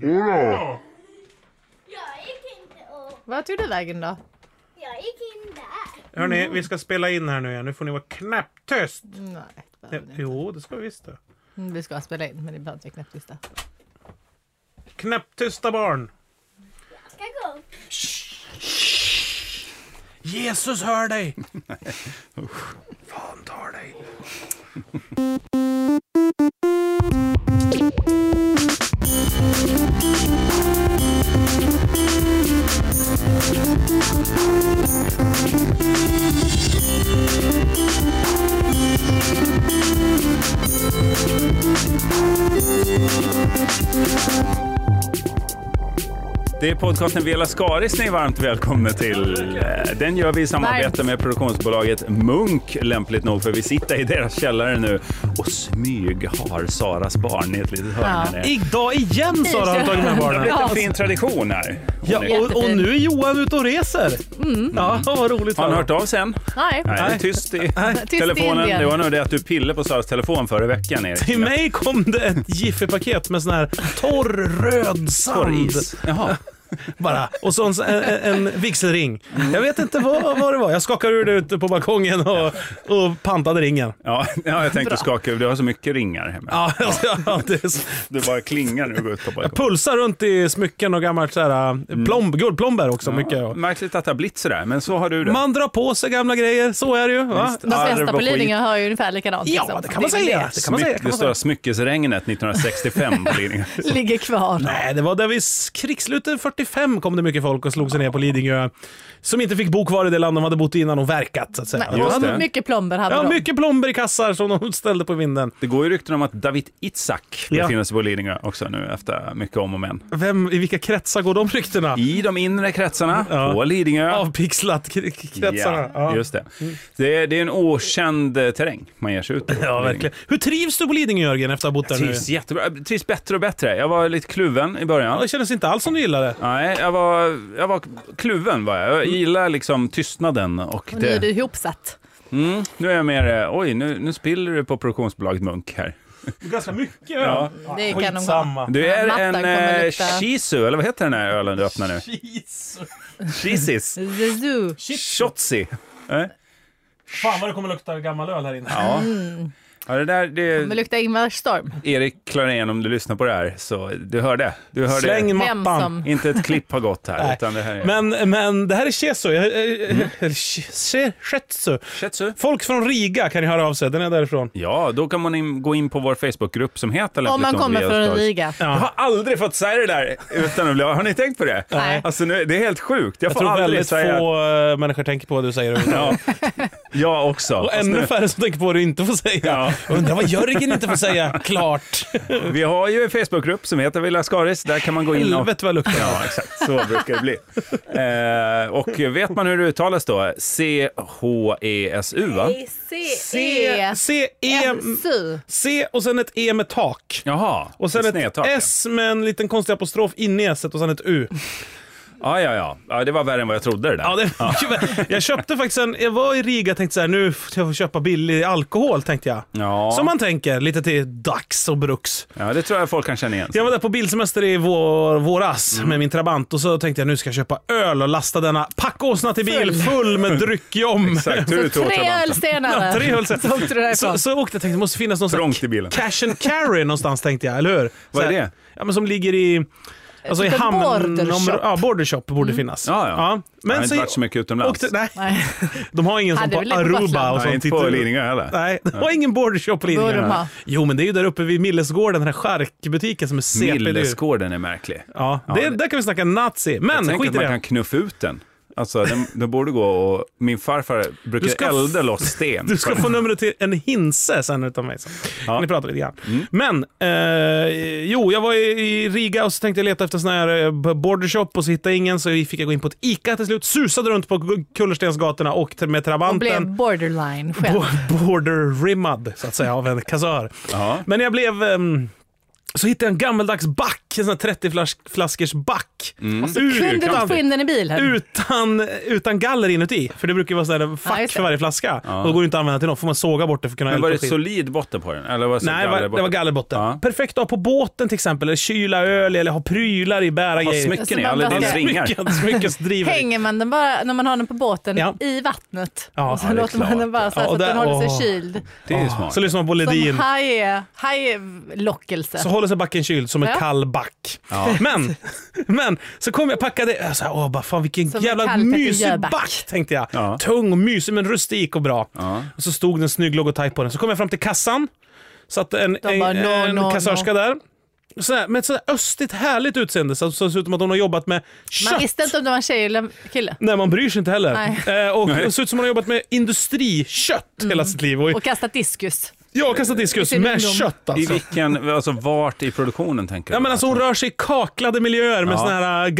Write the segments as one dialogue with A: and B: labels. A: Jodå.
B: Jag gick inte och...
C: Vart tog du vägen då?
B: Jag gick in där.
A: Hörni, vi ska spela in här nu igen. Nu får ni vara knäpptyst.
C: Nej, det
A: Eh,
C: behöver ni inte.
A: Jo, det ska vi visst det.
C: Mm, Vi ska spela in, men ibland är jag knäpptysta.
A: Knäpptysta barn.
B: Jag ska gå upp.
A: Jesus hör dig! Fan tar dig!
D: Det är podcasten Vela Skaris ni är varmt välkomna till. Eh, Den gör vi i samarbete med produktionsbolaget Munk, lämpligt nog, för vi sitter i deras källare nu och smyg har Saras barn i ett litet hörn här nere.
E: Idag igen Sara har tagit med
D: Det har
E: barnen.
D: blivit en fin tradition här.
E: Ja, och, och nu är Johan ute och reser.
C: Mm.
E: Ja, vad roligt.
D: Har han
E: Sara.
D: hört av sig än?
C: Nej.
D: Nej, det är tyst i
C: i
D: telefonen.
C: Indien.
D: det var nog det att du pillade på Saras telefon förra veckan, Erik.
E: Till mig kom det ett Jiffy-paket med sån här torr röd sand.
D: Torris. Jaha.
E: Bara. Och så en, en, en vigselring. Jag vet inte vad, vad det var. Jag skakade ur det ute på balkongen och, och pantade ringen.
D: Ja, ja, jag tänkte skaka ur. Du har så mycket ringar hemma.
E: Ja, ja, det är så.
D: Du bara klingar nu och går ut på balkongen.
E: Pulsar runt i smycken och gammalt så här, äh, plomb, guldplomber också. Mycket.
D: Mm. Ja, Märkligt att det har blivit sådär, men så har du det.
E: Man drar på sig gamla grejer, så är det ju. Va?
D: Visst.
C: De
D: Arv
C: flesta
D: och
C: på
D: skit.
C: Lidingö har ju ungefär likadant.
E: Ja,
C: liksom.
E: det kan man
C: är väl
E: säga.
C: det.
E: Alltså, Det kan man säga.
D: Smyck-
E: Kan man säga.
D: det stora smyckesregnet 1965 på Lidingö.
C: Ligger kvar.
E: Nej, det var där vid krigsslutet 45 kom det mycket folk och slog sig ner på Lidingö. Som inte fick bo kvar i det land de hade bott i innan och verkat, så att säga.
C: Nej,
D: Just
C: och
D: det.
C: Mycket plomber hade
E: Ja,
C: de.
E: mycket plomber i kassar som de ställde på vinden.
D: Det går ju rykten om att David Itzak
E: Ja.
D: befinner sig på Lidingö också nu efter mycket om och men.
E: Vem, I vilka kretsar går de ryktena?
D: I de inre kretsarna
E: Ja.
D: på Lidingö.
E: Avpixlat kri- kretsarna.
D: Ja,
E: Ja, Mm.
D: just det. Det är, det är en okänd eh, terräng man ger sig ut på.
E: Ja, verkligen. Hur trivs du på Lidingö, Jörgen, efter att ha bott där nu?
D: Trivs jättebra. Jag Trivs bättre och bättre. Jag var lite kluven i
E: Ja,
D: början.
E: det kändes inte alls som du gillade det.
D: Nej, jag var, jag var kluven var jag. Jag
E: Mm.
D: gillar liksom tystnaden och
C: Och nu är
D: det.
C: du ihopsatt.
D: Mm, nu är jag mer, eh, oj, nu, nu spiller du på produktionsbolaget Munk här.
E: Ganska mycket.
D: Ja.
C: Det kan de
E: Skitsamma.
D: Du är
C: Mattan
D: en
C: kommer
D: eh,
C: lukta-
D: shisu, eller vad heter den här ölen du öppnar nu? Shisis.
C: The zoo.
D: Shotzi. Eh?
E: Fan vad det kommer lukta gammal öl här inne.
D: Ja.
C: Mm.
D: ja, det där,
C: Men
D: det,
C: luktar Ingvar Storm.
D: Erik Klarén, om du lyssnar på det här, så du hörde. Du hörde.
E: Släng
C: Vem
E: mappan.
C: som...
D: Inte ett klipp har gått här,
E: Nej.
D: utan det här är...
E: Men, men det här är Cheso. Jag- eh,
D: Mm.
E: eh, eller Che- Shetsu.
D: Shetsu?
E: Folk från Riga kan ju höra av sig. Den är därifrån.
D: Ja, då kan man in, gå in på vår Facebookgrupp som heter
C: Om man
D: Lämpligt nog
C: kommer
D: Via
C: från
D: Östbergs.
C: Riga.
D: Jag har aldrig fått säga det där utan att bli... Har ni tänkt på det?
C: Nej.
D: Alltså, nu, det är helt sjukt. Jag,
E: Jag
D: får
E: tror
D: aldrig
E: väldigt
D: säga...
E: få eh, människor tänker på vad du säger.
D: Ja, jag också.
E: Och
D: Fast
E: ännu
D: nu-
E: färre som tänker på vad du inte får säga.
D: Ja.
E: Undrar vad Jörgen inte får säga. Klart.
D: Vi har ju en Facebookgrupp som heter Villa Skaris. Där kan man gå in och...
E: Helvete vad det luktar.
D: Ja, exakt. Så brukar det bli. Eh, och vet man hur det uttalas då? C-H-E-S-U, va?
C: C-E...
E: C, E,
C: S-U.
E: C och sen ett E med tak.
D: Jaha,
E: Och sen ett
D: snedtak,
E: S med en liten konstig apostrof inne i S och sen ett U.
D: Ja, ja, ja. ja det var värre än vad jag trodde det där.
E: Ja, det, Jag köpte faktiskt en, jag var i Riga och tänkte så här, nu ska jag få köpa billig alkohol tänkte jag.
D: Ja.
E: Som man tänker, lite till dags och bruks.
D: ja, det tror jag folk kan känna igen.
E: Jag var där på bilsemester i vår, våras
D: Mm.
E: med min Trabant och så tänkte jag nu ska jag köpa öl och lasta denna packåsna till bil full med dryckjom.
D: Exakt, hur du tog
C: Tre
D: trabanten.
C: öl senare.
E: Ja, tre öl sen.
C: Så åkte du därifrån.
E: Så, så åkte jag tänkte det måste finnas någon sån här
D: Trångt i bilen.
E: cash and carry någonstans tänkte jag, eller hur?
D: Vad är
E: Så här-
D: det?
E: Ja, men som ligger i... Alltså i
C: Typ en
E: hamn...
C: border shop.
E: om- Ja, border shop borde
C: Mm.
E: finnas.
D: Ja, ja.
E: Men
D: jag har inte
E: så-
D: varit så mycket utomlands.
E: åkte, nej,
C: Nej,
E: de har ingen sån
C: Hade
E: på
C: vi lite på
E: Aruba
C: Gotland?
E: och
D: Nej,
E: sånt.
D: inte på
E: tittar-
D: Lidingö heller.
E: Nej, de har ingen border shop på
C: Borde de
E: Lidingö.
C: ha?
E: Jo, men det är ju där uppe vid Millesgården, den här charkbutiken som är CPD.
D: Millesgården är märklig.
E: Ja, det, där kan vi snacka nazi.
D: Jag
E: Men
D: tänker
E: skit
D: att
E: i
D: man
E: det.
D: kan knuffa ut den. Alltså, den, den borde gå och... Min farfar brukar
E: ska-
D: elda loss sten.
E: Du ska få numret till en hinse sen utav mig. Sen.
D: Ja. Mm.
E: Ni pratar lite grann. Men, eh, jo, jag var i, i Riga och så tänkte jag leta efter sån här eh, b- border shop och så hittade jag ingen så fick jag gå in på ett ICA till slut. Susade runt på Gu- Kullerstensgatorna och t- med
C: och blev
E: Trabanten.
C: borderline själv.
E: Border-rimmad, så att säga, av en kassör.
D: Ja.
E: Men jag blev... ehm, så hittade jag en gammeldags back back, en sån här 30 flas flaskors back.
D: Mm.
C: Så kunde de
E: Utan-
C: få in den i bilen?
E: utan, utan galler inuti. För det brukar ju vara sådär
C: Ja,
E: fack
C: just det.
E: för varje flaska. Och då går det inte att använda till något, får man såga bort det för att kunna
D: Men var det
E: skit.
D: solid botten på den? Eller var det så
E: Nej, det var, det var
D: gallerbotten?
E: gallerbotten.
D: Ja.
E: Perfekt att ha på båten till exempel, eller kyla öl eller ha prylar i, bära
D: Vad
E: grejer.
D: smycken är,
C: Så
D: alla
C: man
D: dina
C: bara-
D: ringar.
E: Mycket, smyckesdrivare.
C: Hänger man den bara, när man har den på båten,
E: Ja.
C: i vattnet?
E: Ja,
C: och så
E: ja, det
D: är
C: låter
D: klart.
C: man den bara så, här
E: Ja,
C: så
E: och
C: att den
E: där-
C: håller
E: åh.
C: sig kyld.
D: Det är ju smart.
E: Så lyssnar man på Ledin.
C: Som haj- hajlockelse.
E: Så håller sig backen kyld som en
C: Ja.
E: kall back. Men, men så kom jag packade, jag sa, åh bara, fan vilken
C: Som en
E: jävla
C: kall
E: mysig
C: petitjöback."
E: back tänkte jag.
D: Ja.
E: Tung och mysig men rustik och bra.
D: Ja.
E: Och så stod det en snygg logotyp på den. Så kom jag fram till kassan. Satt en,
C: De
E: en,
C: bara, "No,
E: en
C: no,
E: kassörska där. Sådär, med ett sådär östigt härligt utseende. Så, så ser ut som att hon har jobbat med
C: Man
E: kött.
C: visste inte om det var en tjej eller en kille.
E: Nej, man bryr sig inte heller.
C: Nej. Mm.
E: Eh, och
D: Nej.
E: det ser ut som att hon har jobbat med industrikött hela sitt liv. Och,
C: Och kastat diskus.
E: jag har kastat diskus
C: I sin
E: med
C: ungdom.
E: kött
D: I
E: alltså.
D: vilken, alltså vart i produktionen tänker du?
E: Ja, men alltså hon rör sig i kaklade miljöer med
D: Ja.
E: såna här äh,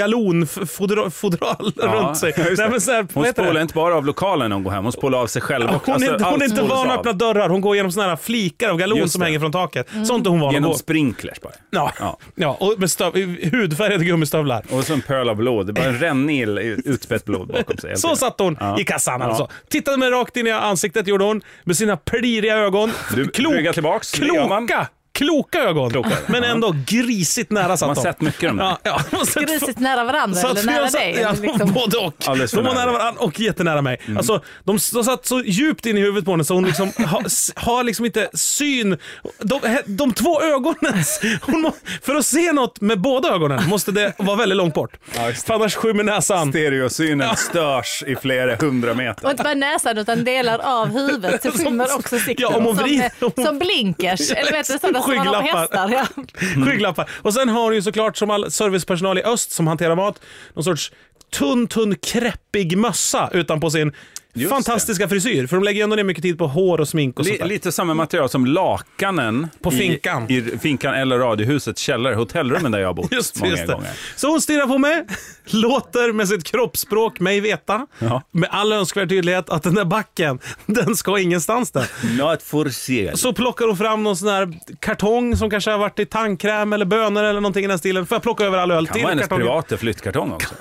E: galonfodral
D: Ja,
E: runt sig.
D: just det.
E: Nej, men så här,
D: Hon
E: vad heter det?
D: spolar inte bara av lokalen när hon går hem, hon spolar av sig själv också.
E: Hon är,
D: Alltså,
E: hon
D: allt
E: är inte
D: spolas
E: van att
D: av.
E: öppna dörrar. Hon går genom såna här flikar av galon
D: Just
E: som
D: det.
E: hänger från taket. Sånt är hon van att
D: Genom
E: gå.
D: sprinklers bara.
E: Ja.
D: Ja.
E: Ja. och med stöv, hudfärgade gummistövlar.
D: Och så en pöl av blod, det är bara en rännil i utspätt blod bakom sig. hela
E: Så
D: tiden.
E: satt hon
D: Ja.
E: i kassan
D: Ja.
E: alltså. Tittade mig rakt in i ansiktet gjorde hon med sina pliriga ögon.
D: Du ryggar tillbaks, det gör man.
E: kloka, kloka ögon.
D: Kloka,
E: Men
D: ja.
E: ändå grisigt nära satt
D: Man har
E: hon.
D: sett mycket av dem.
E: Ja, ja. man har sett-
C: Grisigt nära varandra
E: Så att
C: eller
E: jag
C: nära
E: satt-
C: dig.
E: Ja,
C: eller liksom.
E: Både och.
D: Alldeles för
E: De var
D: nära. Mm.
E: nära varandra och jättenära mig. Alltså, de, de satt så djupt in i huvudet på henne så hon liksom ha, s- har liksom inte syn. De, he- de två ögonen, hon må, för att se något med båda ögonen måste det vara väldigt långt bort.
D: Ja, just det.
E: För annars skymmer näsan.
D: Stereosynen störs i flera hundra meter.
C: Och inte bara näsan utan delar av huvudet. Det skymmer också sikten.
E: Ja, om hon vrider-
C: som, eh, som blinkers. Eller vet du, sådana som man har på
E: Skygglappar.
C: hästar. Ja.
D: Mm.
E: Skygglappar. Och sen har hon ju såklart som all servicepersonal i öst som hanterar mat, någon sorts tunn, tunn, kräppig mössa utanpå sin
D: Just
E: fantastiska frisyr. För de lägger ju ändå ner mycket tid på hår och smink och sånt
D: Li,
E: där.
D: lite samma material som lakanen
E: På
D: i-
E: finkan.
D: I, finkan eller radiohusets källare, hotellrummen där jag har bott
E: Just, det,
D: många
E: just det.
D: gånger.
E: Så hon stirrar på mig, låter med sitt kroppsspråk mig veta
D: Ja.
E: med all önskvärd tydlighet att den där backen, den ska ingenstans där.
D: Not for sale.
E: Så plockar hon fram någon sån här kartong som kanske har varit i tandkräm eller bönor eller någonting i den här stilen. Får jag plocka över all öl
D: Kan
E: till
D: vara hennes
E: kartongen?
D: privata flyttkartong också.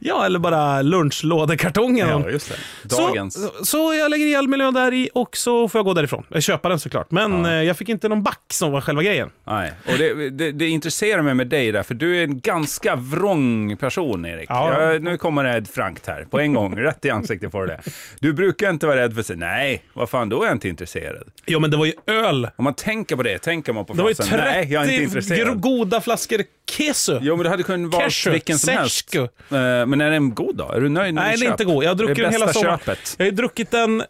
E: Ja, eller bara lunchlådekartongen.
D: Ja, just det. Dagens.
E: Så, så jag lägger i all miljö där i och så får jag gå därifrån. Jag köper den såklart, men eh, jag fick inte någon back som var själva grejen.
D: Nej, och det, det, det intresserar mig med dig där, för du är en ganska vrång person, Erik.
E: Ja.
D: Jag, nu kommer det frankt här, på en gång, rätt i ansiktet får du det. Du brukar inte vara rädd för sig. Nej, vad fan, då är jag inte intresserad.
E: Jo, men det var ju öl.
D: Om man tänker på det, tänker man på
E: Det var ju
D: frasen, nej, jag är inte
E: 30 gro-
D: intresserad.
E: goda flaskor kesu.
D: Jo, men det hade kunnat vara
E: Cashew,
D: vilken som helst.
E: sesku.
D: Eh, Men är den god då? Är du nöjd med
E: Nej,
D: ditt
E: det är
D: köp?
E: inte god. Jag har druckit
D: det är
E: den hela
D: bästa
E: sommaren.
D: köpet.
E: Jag har ju druckit den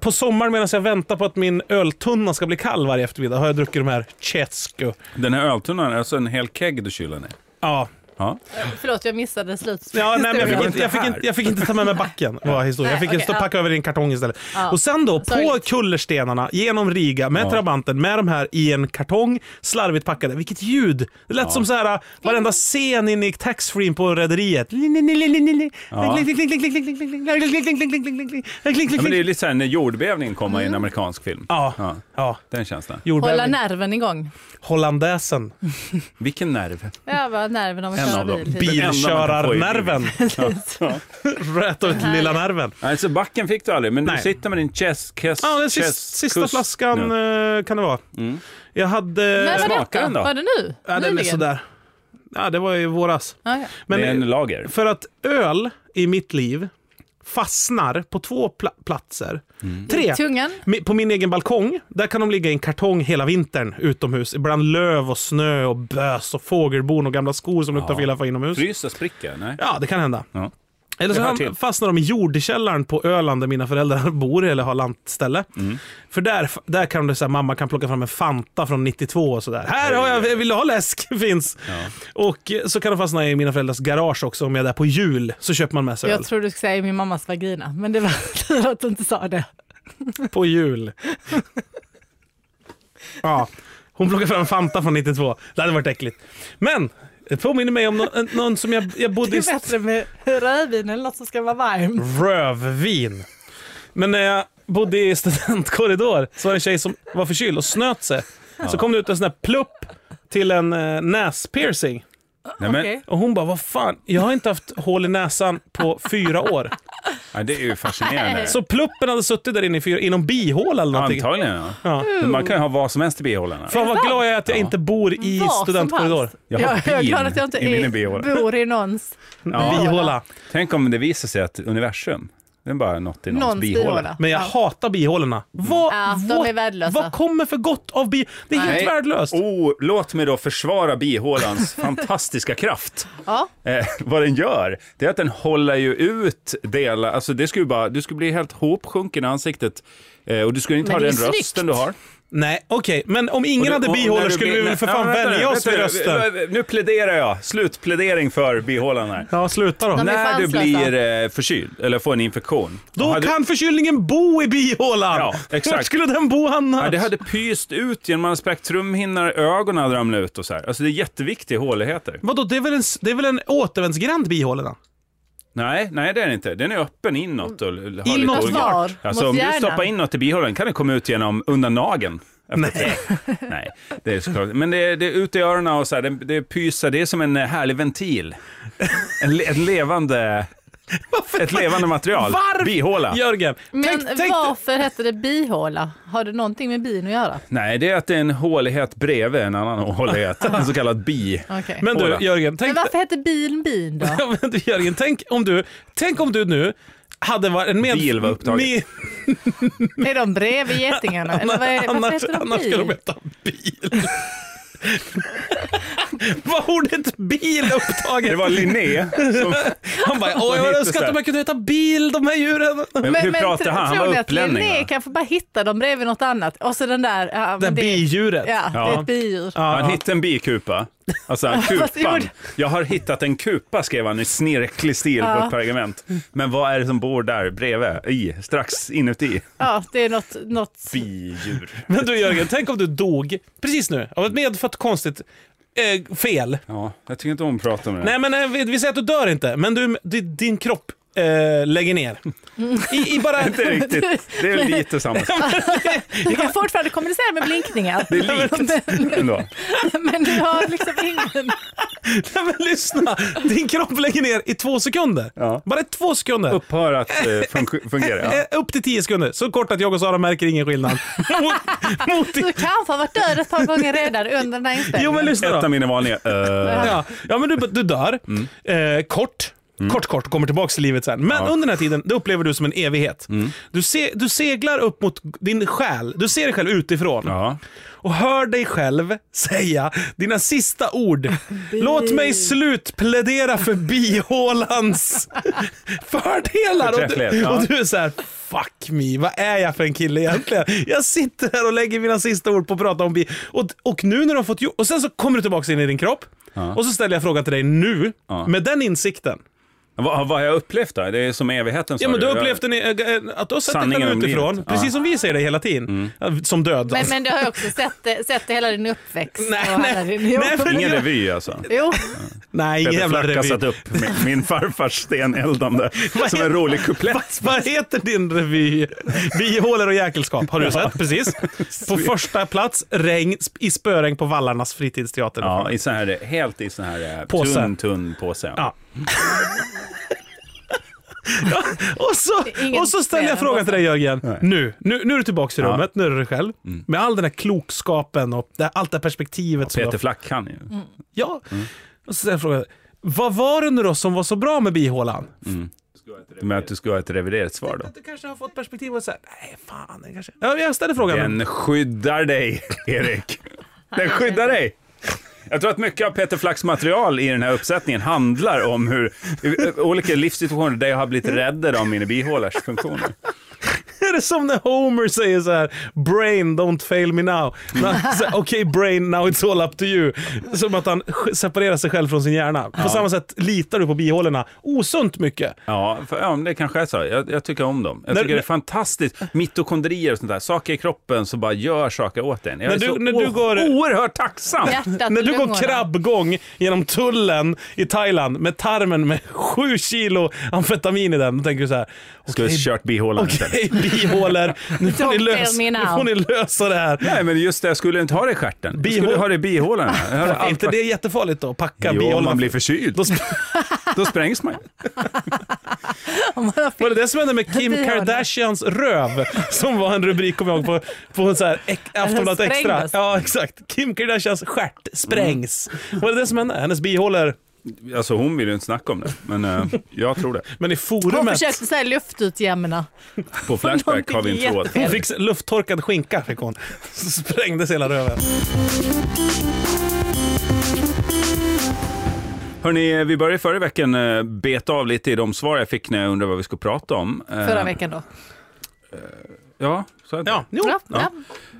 E: på sommaren medan jag väntar på att min öltunna ska bli kall varje eftermiddag. Har jag druckit de här Cescu.
D: Den här öltunnan, alltså en hel keg du kyler ner.
E: Ja.
D: Ja.
C: Förlåt, jag missade slutet.
E: Ja, nej, men jag,
D: var
E: fick
D: inte
E: inte, jag, fick
D: här.
E: inte, jag fick inte ta med mig backen, var historien. Jag fick
C: Nej,
E: stå
C: okej,
E: packa över i en kartong istället.
C: Ja.
E: Och sen då, på
C: Sorgligt.
E: kullerstenarna, genom Riga, med Trabanten, med de här i en kartong, slarvigt packade. Vilket ljud! Det lät som så här, äh, varenda scen inne i taxfree på Rederiet.
D: Ja, men det är ju lite så här när jordbävningen kommer i en amerikansk film.
E: Mm. Ja,
D: Ja.
E: ja.
D: Den känslan.
C: Hålla
E: Jordbävning.
C: nerven igång.
E: Hollandäsen.
D: Vilken nerv.
C: Ja, bara nerven av att
D: En
C: köra
D: av dem.
C: bil.
D: Bil.
E: Bilkörarnerven. Rätt ut lilla nerven.
D: Alltså backen fick du aldrig, men du
E: Nej.
D: sitter med din chess, kes,
E: Ja, den sista,
D: chess- Mm.
E: sista
D: kuss
E: flaskan
D: nu.
E: eh, kan det vara. Jag hade...
C: När var
D: Smakar
C: detta?
D: den då?
C: Var det nu?
E: Ja, den är
C: Nyligen?
E: sådär. Ja, det var i våras.
C: Ja, ja.
E: Men
D: det är en lager.
E: för att öl i mitt liv fastnar på två pla- platser.
D: Mm.
E: Tre.
C: Tungan?
E: Mi- På min egen balkong, där kan de ligga i en kartong hela vintern utomhus. Bland löv och snö och bös och fågelbon och gamla skor som luktar
D: Ja.
E: filla för inomhus.
D: Fryser sprickor? Nej.
E: Ja, det kan hända.
D: Ja.
E: Eller så
D: Det hör
E: ham-
D: till.
E: fastnar de i jordkällaren på Öland där mina föräldrar bor eller har lantställe.
D: Mm.
E: För där, där kan det så här, mamma kan plocka fram en Fanta från 92 och sådär. Här har jag, vill du ha läsk? Finns. Och eh, så kan de fastna i mina föräldrars garage också. Om jag är där på jul så köper man med sig öl.
C: Jag tror du skulle säga i min mammas vagina, men det var tur att du inte sa det.
E: På jul. ja, hon plockar fram Fanta från 92. Det hade varit äckligt. Men, det påminner mig om nå- en- någon som jag, jag bodde
C: Det
E: i...
C: är bättre med rödvin än något som ska vara varmt.
E: rövvin. Men när jag bodde i studentkorridor så var det en tjej som var förkyld och snöt sig. Så kom det ut en sån här plupp till en eh, näspiercing.
D: Nej, men,
C: Okej.
E: Och hon bara, vad fan, jag har inte haft hål i näsan på fyra år.
D: ja, det är ju fascinerande.
E: Så pluppen hade suttit där inne i fyra, i någon bihåla eller någonting.
D: Antagligen ja.
E: Ja.
D: Men Man kan ju ha vad som helst i bihålorna.
E: Fan vad glad jag är att jag
D: Ja.
E: inte bor i
C: Vad som
E: studentkorridor.
C: helst.
D: Jag har
C: Ja, jag är
D: bin
C: glad att jag inte
D: i min
C: är,
D: bihåla.
C: bor i någons.
D: Ja.
E: Bihåla.
D: Tänk om det visar sig att universum, det är bara något i någons,
C: Någons
D: bihåla.
C: bihåla.
E: Men jag
C: Ja.
E: hatar bihålorna. Vad,
C: Ja, de
E: what-
C: är värdelösa.
E: vad kommer för gott av bi... Det är
D: Nej.
E: helt värdelöst.
D: Oh, låt mig då försvara bihålans fantastiska kraft.
C: Ja.
D: Eh, vad den gör, det är att den håller ju ut delar, alltså det skulle ju bara, du skulle bli helt hopsjunken i ansiktet eh, och du skulle inte
C: Men
D: ha
C: det är
D: den
C: snyggt.
D: rösten du har.
E: Nej, okej. Men om ingen
D: Och du-
E: hade
D: och när
E: bihålor
D: du
E: skulle
D: blir-
E: vi väl för
D: Ja,
E: fan
D: vänta nu,
E: välja oss
D: vänta
E: vid
D: nu.
E: rösten?
D: Nu pläderar jag, slutplädering för bihålan här.
E: Ja, sluta då.
C: De är
D: När du
C: chanslösa.
D: blir eh, förkyld eller får en infektion.
E: Då
D: hade,
E: kan förkylningen bo i bihålan!
D: Ja, exakt.
E: Vart skulle den bo annars?
D: ja, det hade pyst ut genom att man spräckt trumhinnan, ögonen hade ramlat ut och så här. Alltså det är jätteviktiga håligheter.
E: Vadå, det är väl en, s- det är väl en återvändsgränd bihålorna?
D: Nej, nej det är den inte. Den är öppen inåt. Och har lite
E: Inåt
D: olika-
C: var?
D: Alltså
C: Mot
D: om du
C: hjärnan?
D: stoppar inåt i bihålan kan den komma ut genom undan nageln. Nej. nej, det är såklart. Men det är, det är ut i öronen och så här, det, det pyser, det är som en eh, härlig ventil. En, le- ett levande, ett levande material.
E: Varför-
D: Bihåla.
E: Jörgen,
C: Men
E: tänk, tänk,
C: varför hette det bihåla? Har det någonting med bin att göra?
D: Nej, det är att det är en hålighet bredvid en annan hålighet, en så kallad bi.
C: Okej. Men,
E: men du
D: Håla.
E: Jörgen, tänk,
C: varför hette bilen bin då?
E: Ja, men du, Jörgen, tänk, om du, tänk om du nu hade varit en med...
D: Bil var upptaget.
E: med-
C: är de bredvid getingarna? Eller vad är, varför
E: annars
C: heter de
E: annars ska de
C: bil?
E: heta bil. Vad ordet bil
D: Det
E: upptaget?
D: var Linné som...
E: Han bara, åh
D: Vad
E: jag
D: heter
E: önskar
D: så
E: att
D: här?"
E: de kunde heta bil, de här djuren.
D: Men, hur pratade
C: tro-
D: han? Han
C: tror ni
D: var
C: att
D: utlänning.
C: Linné
D: va?
C: kanske bara hittar dem bredvid något annat. Och så den där... Ja, men
E: Det här
C: det,
E: bidjuret.
C: ja, det är
D: Ja.
C: ett bidjur.
E: Ja,
D: Han
E: ja.
D: hittade en bikupa. Alltså han,
C: Fast
D: kupan.
C: gjorde-
D: Jag har hittat en kupa, skrev han i snirklig stil på ett pergament. Men vad är det som bor där bredvid? I? Strax inuti?
C: Ja, det är något... något
D: Bidjur.
E: Men du Jörgen, tänk om du dog precis nu av ett medfött konstigt eh, fel.
D: Ja, jag tycker inte om att prata om det.
E: Nej men eh, vi, vi säger att du dör inte, men du, di- din kropp eh, lägger ner. I, i bara...
D: Inte riktigt. Det är lite samma sak.
C: du kan fortfarande kommunicera med blinkningar.
D: Det är likt ändå.
C: Men, men du har liksom ingen...
E: Nej, men lyssna! Din kropp lägger ner i två sekunder.
D: Ja.
E: Bara i två sekunder.
D: Upphör att eh, funku- fungera. Ja.
E: Eh, Upp till 10 sekunder. Så kort att jag och Sara märker ingen skillnad. mot, mot
C: Du
E: din...
C: kanske har varit död ett par gånger redan under den här inspelningen.
E: Jo men lyssna
D: Ett av
E: då.
D: mina varningar. Eh,
E: Ja, ja men du, du dör.
D: Mm.
E: Eh, kort. Kort, kort, kommer tillbaka till livet sen. Men
D: Ja. Mm.
E: under den här tiden, det upplever du som en evighet. Du, se, du seglar upp mot din själ. Du ser dig själv utifrån.
D: ja.
E: och hör dig själv säga dina sista ord. Låt mig slutplädera för bihålans fördelar. Och
D: Förträfflighet,
E: du,
D: ja.
E: och du är så här, fuck me, vad är jag för en kille egentligen? Jag sitter här och lägger mina sista ord på att prata om bi. Och, och nu när du har fått gjort, och sen så kommer du tillbaka in i din kropp. Och så ställer jag frågan till dig nu,
D: Ja.
E: med den insikten.
D: Vad, vad har jag upplevt då? Det är som evigheten sa
E: Ja men du
D: Jag-
E: har upplevt en, eh, att du har sett dig
D: Sanningen
E: själv
D: om livet.
E: utifrån,
D: Ja. Mm.
E: precis som vi ser dig hela tiden. Som död
C: Men,
E: alltså.
C: men du har ju också sett, det- sett det hela din uppväxt.
E: Nej,
C: och
E: nej.
C: alla din, jo,
E: Nej, men-
D: Ingen revy alltså.
C: jo,
E: Nej, ingen
D: Peter
E: jävla
D: Flack har
E: revy.
D: satt upp min, min farfars steneldande som en rolig kuplett.
E: Vad heter din revy? Bihålor och jäkelskap har du sett, precis. På första plats, regn sp- i spöregn på Vallarnas fritidsteater.
D: Ja, i sån här, helt i sån här eh,
E: Påse.
D: tunn, tunn påse.
E: Ja. Och, så,
C: Ingen
E: och så ställer
C: spelare
E: jag
C: alltså.
E: frågan till dig Jörgen.
D: Nej.
E: Nu, nu, nu är du tillbaka i
D: Ja. Mm.
E: rummet, nu är du dig själv. Med all den här klokskapen och det, allt det här perspektivet. som du har
D: Peter Mm. Flack han ju.
E: Ja. Och så ställer jag frågan. Vad var det nu då som var så bra med bihålan?
D: Men att du ska ha ett reviderat svar då.
E: Du kanske har fått perspektiv och så här, nej fan, det kanske... Ja, jag ställer frågan.
D: Den skyddar dig, Erik. Den skyddar dig. Jag tror att mycket av Peter Flacks material i den här uppsättningen handlar om hur eh, olika livssituationer där jag har blivit räddad av mina bihålors funktioner.
E: är det som när Homer säger så här: “Brain, don't fail me now”. När han säger, Okej brain, now it's all up to you. Som att han sk- separerar sig själv från sin hjärna. På samma sätt litar du på bihålorna osunt mycket.
D: Ja, för, ja men det kanske är så. Jag, jag tycker om dem. Jag
E: När-
D: tycker det är fantastiskt. Mitokondrier och sånt där. Saker i kroppen som bara gör saker åt en. Jag
E: När
D: är
E: du-
D: så
E: när du
D: o-
E: går-
D: oerhört tacksam.
C: hjärtat
E: När
C: och
E: du går
C: lungorna.
E: krabbgång genom tullen i Thailand med tarmen med sju kilo amfetamin i den, då tänker du så här:
D: Skulle
E: “Okej,
D: ha kört bihålan
E: okej,
D: istället.
E: bihålan. bihålor. Nu får, ni
C: Don't
E: lösa,
C: tell me
E: nu
C: now.
E: får ni lösa det här.
D: Nej, men just det, jag skulle inte ha det i stjärten. Jag skulle
E: Bihål-
D: ha det i bihålorna. Jag har
E: Är
D: allt
E: inte
D: varit-
E: det jättefarligt då? Packa
D: Jo, om
E: bihålorna.
D: man blir förkyld,
E: Då
D: då,
E: sp-
D: då sprängs man ju.
E: Var det det som hände med Kim
C: Bihålorna.
E: Kardashians röv? Som var en rubrik, kommer jag ihåg, på, på en så här ek- Aftonbladet
C: Den
E: Extra.
C: sprängdes.
E: Ja, exakt. Kim Kardashians stjärt sprängs.
C: Mm.
E: Var det det som hände? Hennes bihålor.
D: Alltså hon vill ju inte snacka om det, men eh, jag tror det.
E: Men i
C: Hon
E: forumet.
C: försökte så här luftutjämna.
D: På Flashback har vi en tråd.
E: Hon fick s- lufttorkad skinka, fick hon. Så sprängdes hela röven.
D: Hörni, vi började förra veckan eh, beta av lite i de svar jag fick när jag undrade vad vi skulle prata om. Eh,
C: Förra veckan då.
D: Ja, så är det.
E: Ja, jo.
C: Ja,
D: Ja.
C: ja.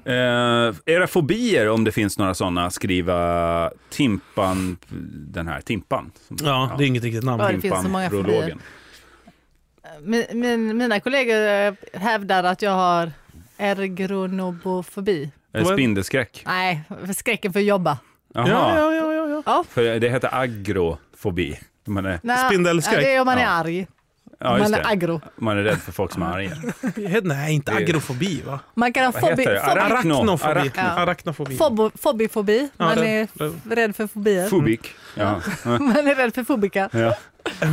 D: Eh, era fobier, om det finns några sådana, skriva Timpan, den här Timpan. Som-
E: Ja, det är inget riktigt namn.
C: det finns så många fobier.
D: Timpan-prologen.
C: Min, min, mina kollegor eh, hävdar att jag har ergonobofobi.
D: Eh, Spindelskräck.
C: Nej, för skräcken för att jobba.
D: Jaha,
E: Ja, ja, ja, ja, ja.
C: Ja.
D: för det heter agrofobi. Man är,
C: Nej,
E: Spindelskräck.
C: Det är om man är
D: Ja.
C: arg.
D: ja,
C: man
D: just
C: är Mm.
D: det.
C: aggro.
D: Man är rädd för folk som är arga.
E: Nej, inte agrofobi va?
C: Man kan ha
D: Vad
C: fobi,
D: heter det?
C: fobi,
D: Arachno.
E: Arachnofobi.
D: Arachno.
C: Ja.
E: Arachnofobi.
C: fobo, fobifobi.
E: Ja,
C: man
E: det-
C: är f- rädd för fobier.
D: Fobik. Ja.
C: man är rädd för fobika.
D: Ja.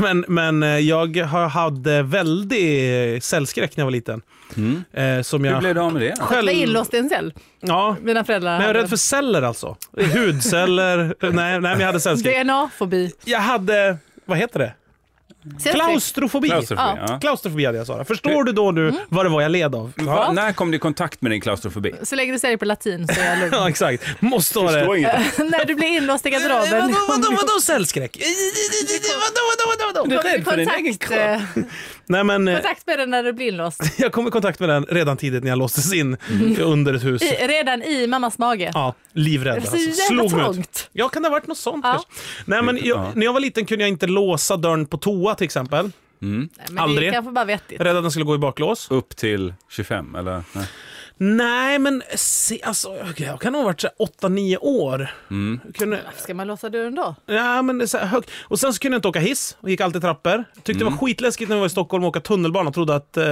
E: Men, men eh, jag har- hade väldigt eh, cellskräck när jag var liten.
D: Mm.
E: Eh, som
D: Hur
E: jag
D: blev du av med det?
C: Jag var
E: själv...
C: inlåst i en cell.
E: Ja.
C: Mina föräldrar
E: Men jag är
C: hade
E: rädd för celler alltså. Hudceller. nej, nej, men jag hade cellskräck.
C: DNA-fobi.
E: Jag hade, vad heter det?
C: Cellskräck.
E: Klaustrofobi.
D: Klaustrofobi. Ja. Mm.
E: Klaustrofobi hade jag Sara. Förstår du då
C: Mm.
E: nu vad det var jag led av?
D: Va? När kom du i kontakt med din klaustrofobi?
C: Så länge du säger det på latin så är jag lugn.
E: Ja, exakt. Måste vara det. Eh,
D: inget.
C: När du blir inlåst i garderoben.
E: Vadå, vadå, vadå cellskräck? Vadå, vadå, vadå, vadå?
C: Kom i kontakt, eh,
E: Nej men, eh,
C: kontakt med den när du blir inlåst.
E: jag kom i kontakt med den redan tidigt när jag låstes in under ett hus.
C: I, redan i mammas mage.
E: Ja, livrädd
C: Mm. Eh, Det är så
E: alltså.
C: jävla
E: Slog mig ut.
C: trångt.
E: Ja, kan det ha varit något sånt
C: Ja.
E: kanske? Nej, men
D: Ja.
E: jag, när jag var liten kunde jag inte låsa dörren på toa till exempel.
C: Nej, Men Det är
E: Aldrig.
C: kanske bara vettigt.
E: Rädd att den skulle gå i baklås.
D: Upp till 25, eller? Nej.
E: Nej, men se, alltså, jag kan nog ha varit 8-9 år.
D: Mm.
E: Kunde,
C: Ska man låsa dörren då?
E: ja, men det är så här, högt. Och sen så kunde jag inte åka hiss och gick alltid trappor. Tyckte det var
D: Mm.
E: skitläskigt när vi var i Stockholm och åka tunnelbana och trodde att eh,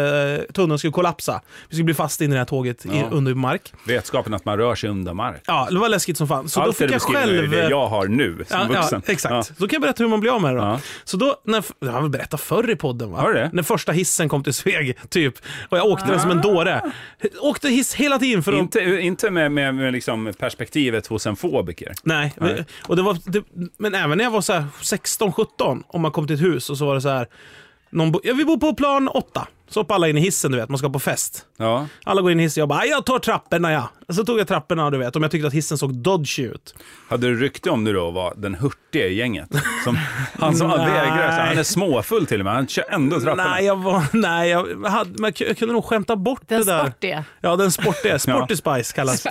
E: tunneln skulle kollapsa. Vi skulle bli fast in i det här tåget i,
D: Ja.
E: under mark.
D: Vetskapen att man rör sig under mark.
E: Ja, det var läskigt som fan. Så då
D: Allt det
E: fick
D: du
E: jag
D: beskriver är ju
E: själv...
D: det jag har nu som
E: Ja,
D: vuxen.
E: Ja, exakt.
D: Ja.
E: Då kan jag berätta hur man blir av med det. Då.
D: Ja.
E: Så då, när, jag har väl berättat förr i podden va?
D: Har du det? Ah.
E: När första hissen kom till Sveg, typ. Och jag åkte den som en dåre. Åkte hiss hela tiden för att...
D: Inte, inte med, med, med liksom perspektivet hos en fobiker.
E: Nej.
D: Nej.
E: Och det var, det, men även när jag var så här 16, 17, om man kom till ett hus och så var det så här... Någon bo, ja, vi bor på plan 8. Så hoppar alla in i hissen, du vet. Man ska på fest.
D: Ja.
E: Alla går in i hissen. Jag bara, "Aj, jag tar trapporna ja. Så tog jag trapporna, du vet. Om jag tyckte att hissen såg dodgy ut.
D: Hade du rykte om du då var den hurtiga i gänget? Som, han som
E: Nej.
D: vägrar, så han är småfull till och med, han kör ändå trapporna.
E: Nej, jag, var, nej jag, hade, men jag kunde nog skämta bort
C: Den
E: det där.
C: sportiga.
E: Ja, den sportiga. Sporty Spice kallas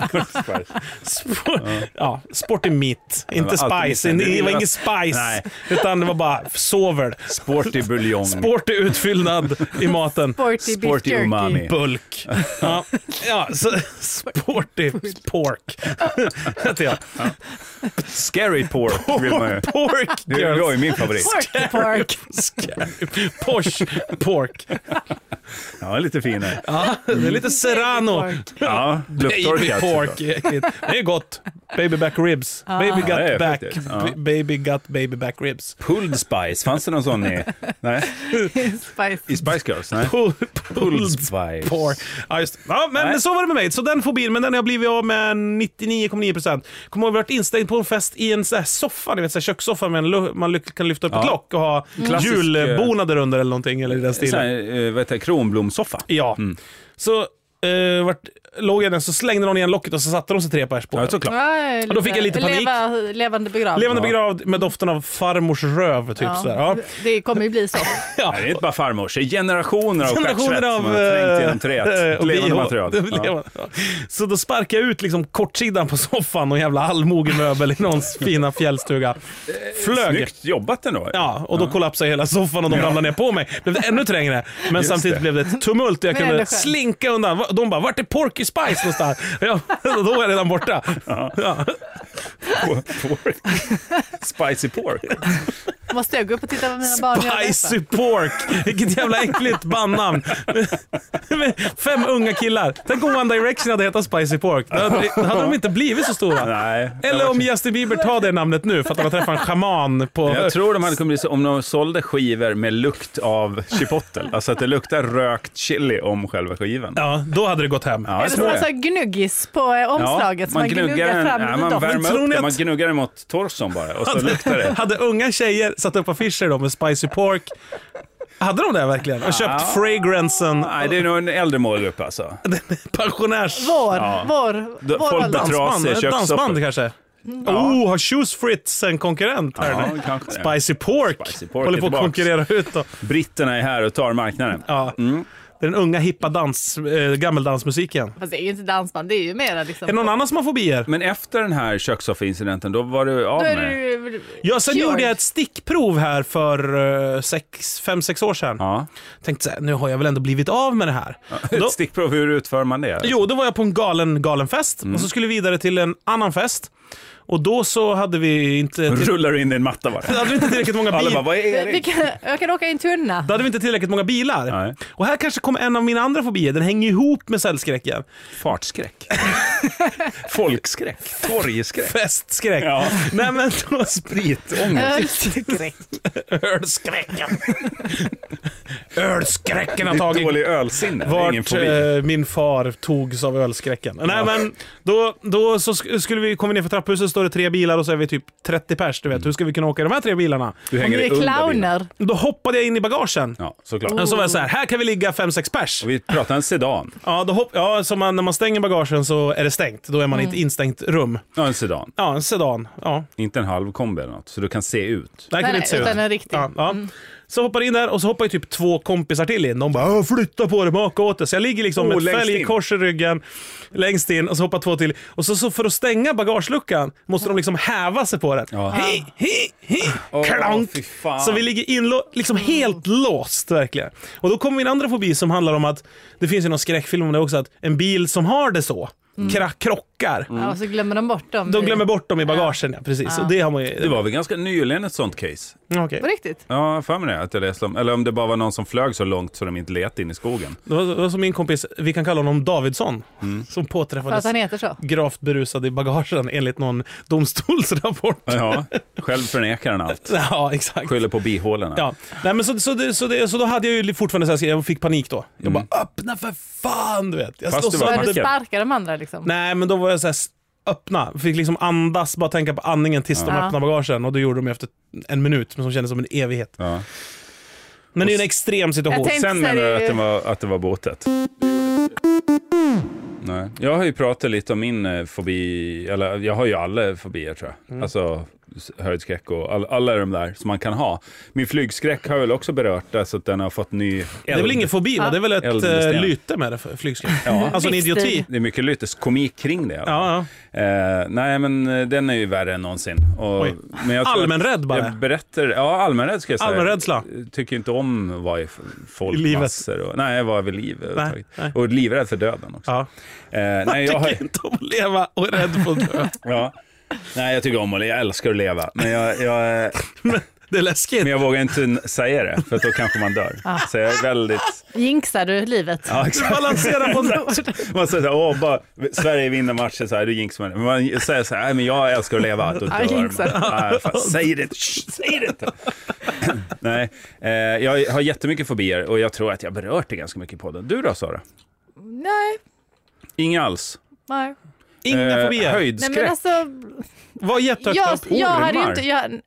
E: Spor, ja, Sporty Meat. Inte
D: alltid
E: Spice.
D: mitt.
E: Det var ingen Spice.
D: Nej.
E: Utan det var bara sover.
D: Sporty buljong,
E: Sporty utfyllnad i maten.
C: Sporty, beef
D: sporty
C: jerky.
D: umami.
E: Bulk. Ja, ja så, sporty pork. Hette jag.
D: Scary pork vill man ju.
E: Pork
D: Det är jag
E: girls.
D: är min favorit.
C: Porky pork.
E: Posh pork.
D: Ja, lite finare.
E: Ja, det är lite serrano.
C: Pork.
D: Ja,
E: Baby
D: lufttorkat. typ
E: pork.
D: såklart.
E: Det är gott. Baby back ribs. Baby
D: Ja, det
E: gut
D: är
E: back.
D: faktiskt. Ja.
E: B- Baby gut baby back ribs.
D: Pulled spice, fanns det någon sån i, nej,
C: Spice.
D: i Spice Girls? Nej.
E: Pull-
D: Pulled
E: Pulled
D: spice.
E: pork. Ja, just det. ja, men
D: Nej.
E: så var det med mig. Så den fobin, men den har jag blivit av med 99,9%. Kommer ihåg, vi har varit instängd på en fest i en sån här soffa, ni vet så här kökssoffa med en lu- man ly- kan lyfta upp
D: Ja. Mm.
E: ett lock och ha
D: Klassisk,
E: julbonader under eller någonting eller i den
D: Sån
E: stilen.
D: här, Mm. eh, vad heter det, kronblomssoffa.
E: Ja. Så eh, vart, låg jag där så slängde någon igen locket och så satte de sig tre pers på
D: Ja,
E: den.
D: såklart.
C: Ja,
E: då fick jag lite panik.
C: Leva, levande begravd.
E: Levande
D: Ja.
E: begravd med doften av farmors röv, typ
C: Ja.
E: sådär. Ja.
C: Det kommer ju bli så.
E: Ja.
D: Nej, det är inte bara farmors, det är generationer av
E: Generationer
D: stjärtsvett som har trängt genom träet.
E: eh, och
D: Levande
E: bio.
D: material.
E: Det är
D: Ja.
E: levande. Så då sparkade jag ut liksom kortsidan på soffan och en jävla allmogemöbel i någons fina fjällstuga. Flög.
D: Snyggt jobbat ändå.
E: Ja, och då kollapsade hela soffan och de ramlade ner på mig. Blev det ännu trängre. Men
D: Just
E: samtidigt
D: det.
E: blev det ett tumult och jag
C: Men ändå
E: kunde
C: skönt.
E: slinka undan. Va- De bara, vart är Porky Spice någonstans? Och jag, då var jag redan borta. Ja.
D: Pork. Spicy pork.
C: Måste jag gå upp och titta vad mina barn gör? nästa?
E: Spicy Pork! Vilket jävla äckligt bandnamn. Med Fem unga killar. Tänk om One Direction hade hetat Spicy Pork. Då hade, då hade de inte blivit så stora.
D: Nej.
E: Eller om Justin Bieber tar det namnet nu för att de har träffat en schaman på...
D: Jag tror de hade kunnat bli så om de sålde skivor med lukt av chipotle. Alltså att det luktar rökt chili om själva skivan.
E: Ja, då hade det gått hem.
D: Ja, jag
C: Eller som
D: tror
C: alltså
D: det.
C: gnuggis på eh, omslaget som man gnuggar, fram
D: ja,
C: ja,
D: man
E: Men
D: värmer
E: tror
D: upp
E: ni
D: det,
E: att-
D: man gnuggar det mot torson bara och så luktar det.
E: Hade unga tjejer satt upp affischer då med Spicy Pork. Hade de det verkligen? Och köpt fragransen.
D: Nej, det är nog en äldre målgrupp alltså.
E: Pensionärs...
C: Vår,
D: Ja.
C: vår,
D: Då-
C: vår
D: folk
C: ålder.
D: betraktar- Trasig
E: Dansband,
D: kökssoffa.
E: dansband kanske? Oh, har Shoes Fritz en konkurrent här
D: Ja,
E: nu?
D: kanske det.
E: Spicy Pork,
D: Spicy Pork
E: håller
D: är
E: på att
D: tillbaks.
E: konkurrera ut då.
D: Britterna är här och tar marknaden.
E: Ja.
D: Mm.
E: Det är den unga hippa dans, äh, gammeldansmusiken.
C: Fast det är ju inte dansband, det är ju mera liksom...
E: Är det någon annan som har fobier?
D: Men efter den här kökssoffaincidenten, då var du av
C: Då är
D: med...
C: du-
E: Ja, sen
C: Cured.
E: gjorde jag ett stickprov här för eh, 5-6 år sedan.
D: Ja.
E: Tänkte så här, nu har jag väl ändå blivit av med det här. Då-
D: Ett stickprov, hur utför man det?
E: Jo, då var jag på en galen, galen fest
D: Mm.
E: och så skulle vi vidare till en annan fest. Och då så hade vi inte, till,
D: Rullar du in i en matta bara?
E: hade vi inte tillräckligt många
D: Alla bara,
E: bilar.
D: vad är
C: Vi- Vi
D: Erik?
C: kan, jag kan åka i en tunna.
E: Då hade vi inte tillräckligt många bilar.
D: Nej.
E: Och här kanske kom en av mina andra fobier. Den hänger ihop med cellskräcken.
D: Fartskräck. Folkskräck. Torgskräck.
E: Festskräck.
D: Ja.
E: Nej men då
D: Spritångest.
C: Ölskräck.
E: Ölskräcken. Ölskräcken har tagit
D: Dålig ölsinne. Det är ingen
E: vart
D: fobi.
E: eh, min far togs av ölskräcken. Nej men, då, då så sk- skulle vi komma ner för trapphuset, står det tre bilar och så är vi typ 30 pers. Du vet, hur ska vi kunna åka i de här tre bilarna?
D: Du
C: Om
D: hänger
C: ni
D: i
C: är alltså. clowner.
E: Då hoppade jag in i bagagen.
D: Ja, såklart.
E: Och så var jag så här, här kan vi ligga 5-6 pers.
D: Vi pratar en sedan.
E: Ja, då hopp, ja så man, när man stänger bagagen så är det stängt. Då är man i ett
C: Mm.
E: instängt rum.
D: Ja, en sedan.
E: Ja, en sedan. Ja,
D: Inte en halv kombi eller något, så du kan se ut.
C: Nej,
E: där kan det
C: nej,
E: inte se ut.
C: utan en riktig.
E: Ja, ja.
D: Mm.
E: Så hoppar in där och så hoppar ju typ två kompisar till in. De bara "Åh, “flytta på dig, maka åt dig”. Så jag ligger liksom
D: Oh,
E: med ett
D: längst
E: fälg
D: in.
E: kors i ryggen, längst in och så hoppar två till. Och så, så för att stänga bagageluckan måste de liksom häva sig på den.
D: Ja.
E: Hi, hi, hi,
D: Åh,
E: klank!
D: fy fan.
E: Så vi ligger inlå- liksom helt låst verkligen. Och då kommer min andra fobi som handlar om att, det finns ju någon skräckfilm om det också, att en bil som har det så, kra- krockar.
D: Mm.
C: Ja, och så glömmer de bort dem.
E: De glömmer bort dem i bagagen, ja, precis. Och det har man ju...
D: Ah. Det var väl ganska nyligen ett sånt case?
E: Okej.
C: På riktigt?
D: Ja, jag har för mig det. Att jag läste om, eller om det bara var någon som flög så långt så de inte let in i skogen.
E: Det var, det var som min kompis, vi kan kalla honom Davidsson,
D: Mm.
E: som
C: För att
E: påträffades
C: han heter så?
E: gravt berusad i bagagen enligt någon domstolsrapport.
D: Ja, själv förnekar han allt.
E: Ja, exakt.
D: Skyller på bihålorna.
E: Ja. Nej, men så, så, det, så, det, så då hade jag ju fortfarande så här, så jag fick panik då. Jag bara öppna för fan du vet. Jag
D: Mm. Fast
E: slår
D: du var
E: sönder-
C: Börjar du
D: tackar.
C: sparka de andra liksom?
E: Nej men då var jag så här s- öppna, fick liksom andas, bara tänka på andningen tills de
C: Ja.
E: öppnade bagagen och det gjorde de efter en minut men som kändes som en evighet.
D: Ja.
E: Men det är ju en extrem situation.
C: Jag tänkte-
D: Sen menar du att det var, att det var båtet? Nej. Jag har ju pratat lite om min eh, fobi, eller jag har ju alla fobier tror jag.
E: Mm.
D: Alltså s- höjdskräck och all, alla de där som man kan ha. Min flygskräck har jag väl också berört, alltså att den har fått ny eld.
E: Det är väl ingen fobi? va? Det är väl ett
D: Eldinvestering.
E: eh, lyte med det, för- flygskräck?
D: Ja.
E: Alltså en
C: Livsstil.
E: idioti.
D: Det är mycket lyteskomik kring det. i alla
E: Ja,
D: fall.
E: ja.
D: Eh, nej, men eh, den är ju värre än någonsin. Och,
E: Oj.
D: men jag tror att
E: Allmänrädd bara.
D: Jag berättar, ja, allmänrädd ska jag säga.
E: Allmänrädsla.
D: Jag tycker inte om att vara i f-
E: I livet.
D: folkmassor. Och, nej, jag var vid liv överhuvudtaget.
E: nej.
D: Och livrädd för döden också.
E: Ja.
D: Eh, nej, jag
E: tycker
D: har,
E: inte om att leva och är rädd för att dö.
D: ja, nej, jag tycker om att leva. Jag älskar att leva. Men jag, jag, eh,
E: Men det är läskigt.
D: men jag vågar inte n- säga det, för att då kanske man dör.
C: Ah.
D: Så jag är väldigt...
C: Jinxar du livet?
D: Ja,
E: Du
D: exakt.
E: balanserar på en
D: Man säger så här, åh, bara, Sverige vinner matchen, så här, då jinxar man det. Men man säger så här, nej men jag älskar att leva, då
C: Ja,
D: dör
C: jinxar.
D: man. Nej, fan, Säg det inte, Shh, säg det inte. nej, eh, jag har jättemycket fobier och jag tror att jag berört det ganska mycket på den. Du då Sara?
C: Nej.
D: Inga alls.
C: Nej.
E: Inga
D: Eh,
E: fobier.
C: Nej
D: Höjdskräck.
C: men alltså,
E: Var jättehögt
C: jag,
E: upp.
C: jag, hade ju
D: ormar.
C: inte, jag,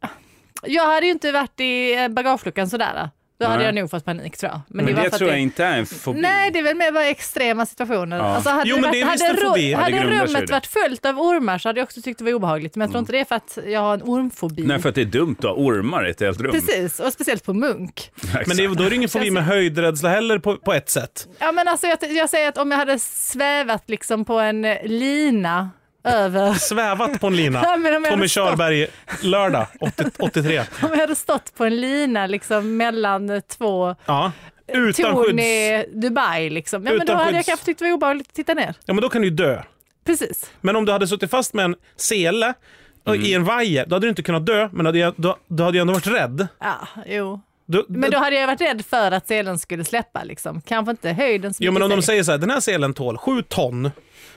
C: jag hade ju inte varit i eh, bagageluckan sådär. Då hade
D: Nej.
C: jag nog fått panik tror jag. Men,
D: men
C: var
D: det
C: för att
D: tror
C: det-
D: jag inte är en fobi.
C: Nej, det är väl mer bara extrema situationer.
D: Ja.
C: Alltså, hade
E: Jo,
C: det
E: men
C: varit,
E: det är visst
C: hade,
E: en fobi.
C: ru-
E: Ja,
D: det
C: hade
D: grundar sig i
C: rummet
D: det. Mm.
C: varit fullt av ormar så hade jag också tyckt det var obehagligt. Men jag tror inte det är för att jag har en ormfobi.
D: Nej, för att det är dumt att ha ormar i ett helt rum.
C: Precis, och speciellt på munk.
D: Exakt.
E: Men det, är- då är det ingen fobi med höjdrädsla heller på, på ett sätt.
C: Ja, men alltså, jag, jag säger att om jag hade svävat liksom på en eh, lina över...
E: Svävat på en lina.
C: Ja, men om jag
E: Tommy
C: hade stått-
E: Körberg, lördag 80, 83.
C: Om jag hade stått på en lina liksom mellan eh, två
E: Ja. Utan
C: torn
E: skydds...
C: i Dubai liksom. Ja, men då
E: Utan
C: hade
E: skydds-
C: jag kanske tyckt det var obehagligt att titta ner.
E: Ja, men då kan du ju dö.
C: Precis.
E: Men om du hade suttit fast med en sele i
D: Mm.
E: en vajer, då hade du inte kunnat dö, men hade jag, då, då hade jag ändå varit rädd.
C: Ja, jo.
E: Då,
C: Men då hade jag varit rädd för att selen skulle släppa. Liksom. Kanske inte höjden så
E: Jo, men om
C: mycket
E: de
C: säkert.
E: säger så här, den här selen tål 7 ton.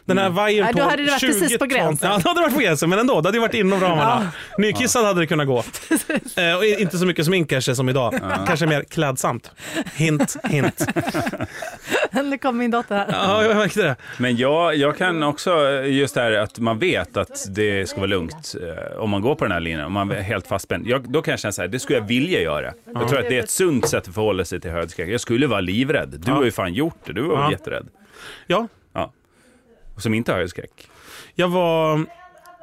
E: Den här vajern
C: Mm. Ja,
E: tål
C: då hade det varit
E: 20
C: precis på
E: ton.
C: gränsen.
E: Ja, då hade det varit på gränsen, men ändå. Det hade ju varit inom ramarna. Nykissad hade det kunnat gå. Eh, och i- inte så mycket smink kanske som idag. Kanske mer klädsamt. Hint, hint.
C: Nu kom min dotter här.
E: Ja, jag märkte det.
D: Men jag, jag kan också, just det här att man vet att det ska vara lugnt eh, om man går på den här linjen, om man är helt fastspänd. Jag, då kan jag känna så här, det skulle jag vilja göra. Jag tror att det är ett sunt sätt att förhålla sig till höjdskräck. Jag skulle vara livrädd. Du har ju fan gjort det, du var
E: Ja.
D: jätterädd.
E: Ja,
D: Och som inte har höjdskräck.
E: jag var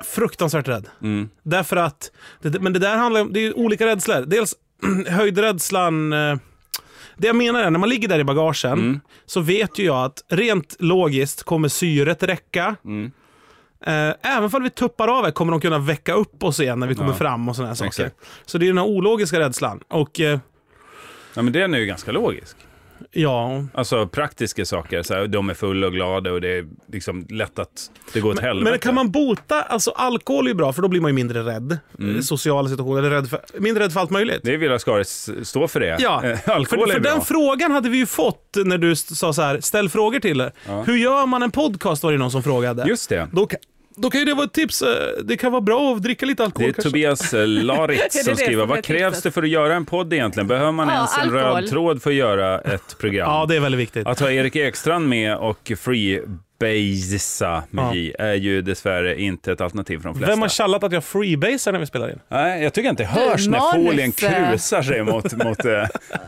E: fruktansvärt rädd.
D: Mm.
E: Därför att, det, men det där handlar om, det är ju olika rädslor. Dels höjdrädslan. eh, Det jag menar är, när man ligger där i bagagen
D: Mm.
E: så vet ju jag att rent logiskt kommer syret räcka.
D: Mm.
E: Eh, Även om vi tuppar av här kommer de kunna väcka upp oss igen när vi kommer
D: Ja.
E: fram och sådana här saker.
D: Exakt.
E: Så det är den här ologiska rädslan. Och eh,
D: Ja, men den är ju ganska logisk.
E: ja,
D: Alltså praktiska saker, så här, de är fulla och glada och det är liksom lätt att det går åt helvete.
E: Men kan man bota, alltså alkohol är ju bra för då blir man ju mindre rädd. Mm. Sociala situationer, eller rädd för, mindre rädd för allt möjligt.
D: Det vill Ascaris stå för det.
E: Ja,
D: Eh, Alkohol
E: för,
D: är
E: för
D: bra.
E: den frågan hade vi ju fått när du st- sa så här, ställ frågor till er. Hur gör man en podcast var det någon som frågade.
D: Just det.
E: Då, ka- då kan ju det vara ett tips, eh, det kan vara bra att dricka lite
D: Det
E: alkohol
D: är
E: kanske.
D: Tobias eh,
C: Är
D: Laritz
C: det
D: som
C: det
D: skriver,
C: som är
D: vad krävs
C: tipset?
D: det för att göra en podd egentligen? Behöver man
C: Ja,
D: ens en
C: alkohol.
D: röd tråd för att göra ett program?
E: Ja, det är väldigt viktigt.
D: Att ha Erik Ekstrand med och freebasea med
E: Ja.
D: J är ju dessvärre inte ett alternativ för de flesta.
E: Vem har tjallat att jag freebasar när vi spelar in?
D: Nej, jag tycker inte det hörs när
C: manus,
D: folien
C: eh.
D: krusar sig mot... mot eh,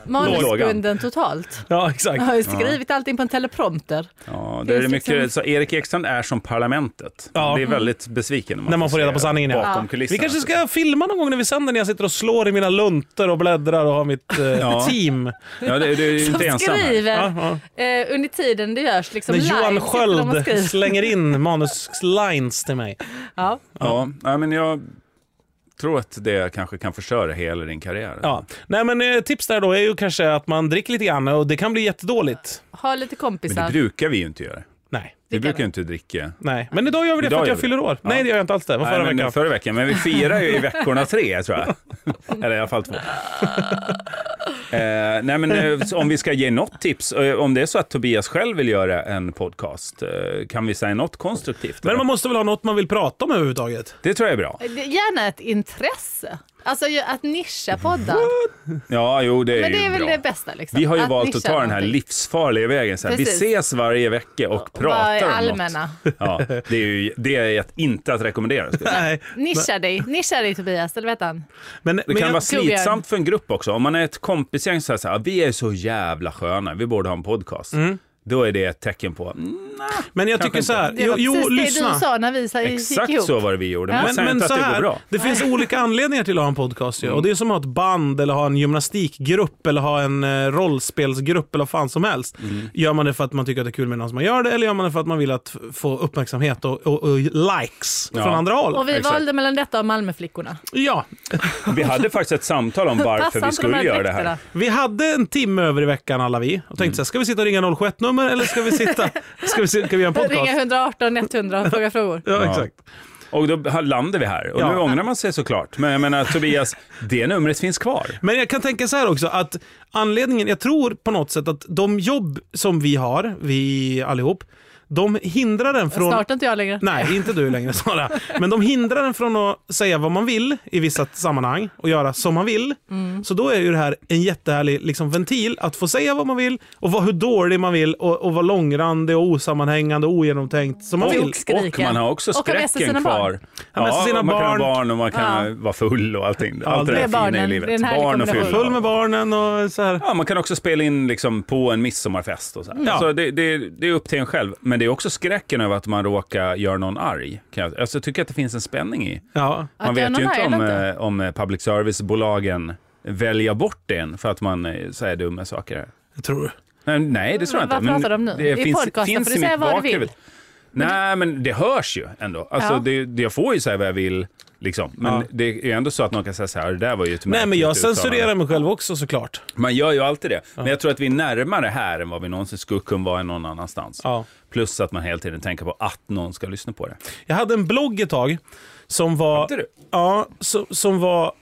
C: Manusbunden totalt.
E: Ja,
C: Jag
E: exakt.
C: har ju skrivit allting på en teleprompter.
D: ja, det är
C: Finns liksom-
D: mycket, så Erik Ekstrand är som parlamentet.
E: Ja.
D: Det är väldigt besviken
E: När man får reda
D: se
E: på sanningen, ja.
D: Bakom
C: Ja.
D: kulisserna.
E: Vi kanske ska filma någon gång när vi sänder när jag sitter och slår i mina luntor och bläddrar och har mitt eh,
D: Ja.
E: team.
D: Ja, det, du är ju
C: Som
D: inte ensam här.
C: skriver
E: Ja,
C: eh, under tiden det görs liksom
E: När
C: live.
E: Johan
C: sitter de och skriver.
E: Sköld slänger in manuslines till mig.
C: Ja.
D: Ja, nej, men jag tror att det kanske kan förstöra hela din karriär.
E: Ja. Nej, men eh, tips där då är ju kanske att man dricker lite grann och det kan bli jättedåligt.
C: Ha lite
D: Men
C: kompisar.
D: det brukar vi ju inte göra.
E: Nej.
D: Vi
C: Dricka
D: brukar
C: det.
D: ju inte dricka.
E: Nej, men idag gör vi det
D: Idag
E: för att jag
D: gör vi
E: fyller
D: det.
E: år.
D: Ja.
E: Nej, det gör jag inte alls det. Det var förra
D: Nej, men
E: veckan.
D: Förra veckan, men vi firar ju i veckorna tre tror jag. Eller i alla fall två. Eh, nej men eh, om vi ska ge något tips, eh, om det är så att Tobias själv vill göra en podcast, eh, kan vi säga något konstruktivt?
E: Men
D: eller?
E: man måste väl ha något man vill prata om överhuvudtaget?
D: Det tror jag är bra.
C: Det- Gärna ett intresse. Alltså ju att nischa poddar.
D: Ja, jo Mm. det är,
C: Men det
D: ju
C: är väl
D: bra.
C: det bästa. Liksom.
D: Vi har ju
C: att
D: valt
C: nischa
D: att ta den här
C: någonting.
D: livsfarliga vägen. Så här, vi
C: Precis.
D: ses varje vecka och
C: Bara
D: pratar om något.
C: allmänna.
D: Ja, det är ju det är att- inte att rekommendera. Ska jag säga.
E: Nej.
C: Nischa dig. Nischa dig Tobias, eller vet han?
E: Men,
D: Det
E: men
D: kan
E: jag,
D: vara
C: Torbjörn.
D: slitsamt för en grupp också. Om man är ett kompisgäng så här, så här vi är så jävla sköna, vi borde ha en podcast.
C: Mm.
D: Då är det ett tecken på, mm,
E: men jag
D: kanske
E: tycker så här.
C: Det
E: Jo,
C: var
E: jo
C: precis det
E: lyssna.
C: du sa när vi så här gick
D: exakt
C: ihop.
D: så var det vi gjorde. Men,
E: Men,
D: säg
E: men
D: inte
E: så
D: att det går
E: här,
D: bra.
E: det finns olika anledningar till att ha en podcast ju. Och det är som att ha ett band eller ha en gymnastikgrupp eller ha en eh, rollspelsgrupp eller vad fan som helst.
D: Mm.
E: Gör man det för att man tycker att det är kul med någon som man gör det eller gör man det för att man vill att f- få uppmärksamhet och, och, och likes
D: Ja.
E: från andra håll?
C: Och vi
D: Exakt.
C: valde mellan detta och Malmöflickorna.
E: Ja,
D: Vi hade faktiskt ett samtal om varför
C: Passar
D: vi
C: inte de
D: skulle
C: här
D: göra det
C: dräkterna?
D: här.
E: vi hade en timme över i veckan alla vi och
D: Mm.
E: tänkte så här, ska vi sitta och ringa 071-nummer eller ska vi sitta, ska vi, se- ska vi göra en
C: Ringa
E: podcast?
C: 118 100 och fråga frågor.
E: Ja,
D: Ja.
E: exakt.
D: Och då landade vi här. Och
E: Ja.
D: nu ångrar man sig såklart. Men jag menar Tobias, det numret finns kvar.
E: Men jag kan tänka så här också att anledningen, jag tror på något sätt att de jobb som vi har, vi allihop, de hindrar den från...
C: Snart inte jag längre.
E: Nej, inte du längre Sara. Men de hindrar en från att säga vad man vill i vissa sammanhang och göra som man vill.
D: Mm.
E: Så då är ju det här en jättehärlig liksom, ventil att få säga vad man vill och vara hur dålig man vill och, och vara långrandig och osammanhängande och ogenomtänkt som man
D: Och,
E: vill.
C: Och skrika.
D: och man har också
C: Och ha med sig
D: skräcken
C: sina
D: kvar.
C: barn.
E: Ha med sig sina
D: man kan ha
E: barn.
D: barn och man kan vara full och allting. Allt det
E: det
D: där
E: är
D: fina i
C: barnen. Det är
D: livet.
C: en härlig
D: Barn och
C: kombination.
D: fylla.
E: Full med barnen och så här.
D: Ja, man kan också spela in liksom på en midsommarfest. Och så här.
E: Ja.
D: Alltså, det, det, det är upp till en själv. Men det är också skräcken över att man råkar göra någon arg. Kan jag, alltså, jag tycker att det finns en spänning i.
E: Ja.
C: Att
D: Man
C: göra
D: vet ju
C: någon
D: inte
C: arg
D: om,
C: eller
D: eh, om eh, public service-bolagen väljer bort en för att man eh, säger dumma saker.
E: Jag tror
D: Nej, Nej, det tror jag
C: Men
D: inte.
C: vad pratar de nu?
D: Det
C: I
D: finns,
C: podcasten
D: finns
C: får du
D: i mitt
C: säga vad du
D: bakhuvud.
C: vill.
D: Nej, men det hörs ju ändå. Alltså,
C: Ja.
D: det, det, jag får ju säga vad jag vill. Liksom. Men
E: Ja.
D: det är ju ändå så att någon kan säga så här, det där var ju ett
E: Nej, men
D: märkligt
E: jag
D: uttalande."
E: censurerar mig själv också såklart.
D: Man gör ju alltid det. Men jag tror att vi är närmare här än vad vi någonsin skulle kunna vara någon annanstans.
E: Ja.
D: Plus att man hela tiden tänker på att någon ska lyssna på det.
E: Jag hade en blogg ett tag Som var...
D: Hade du?
E: Ja, som, som var...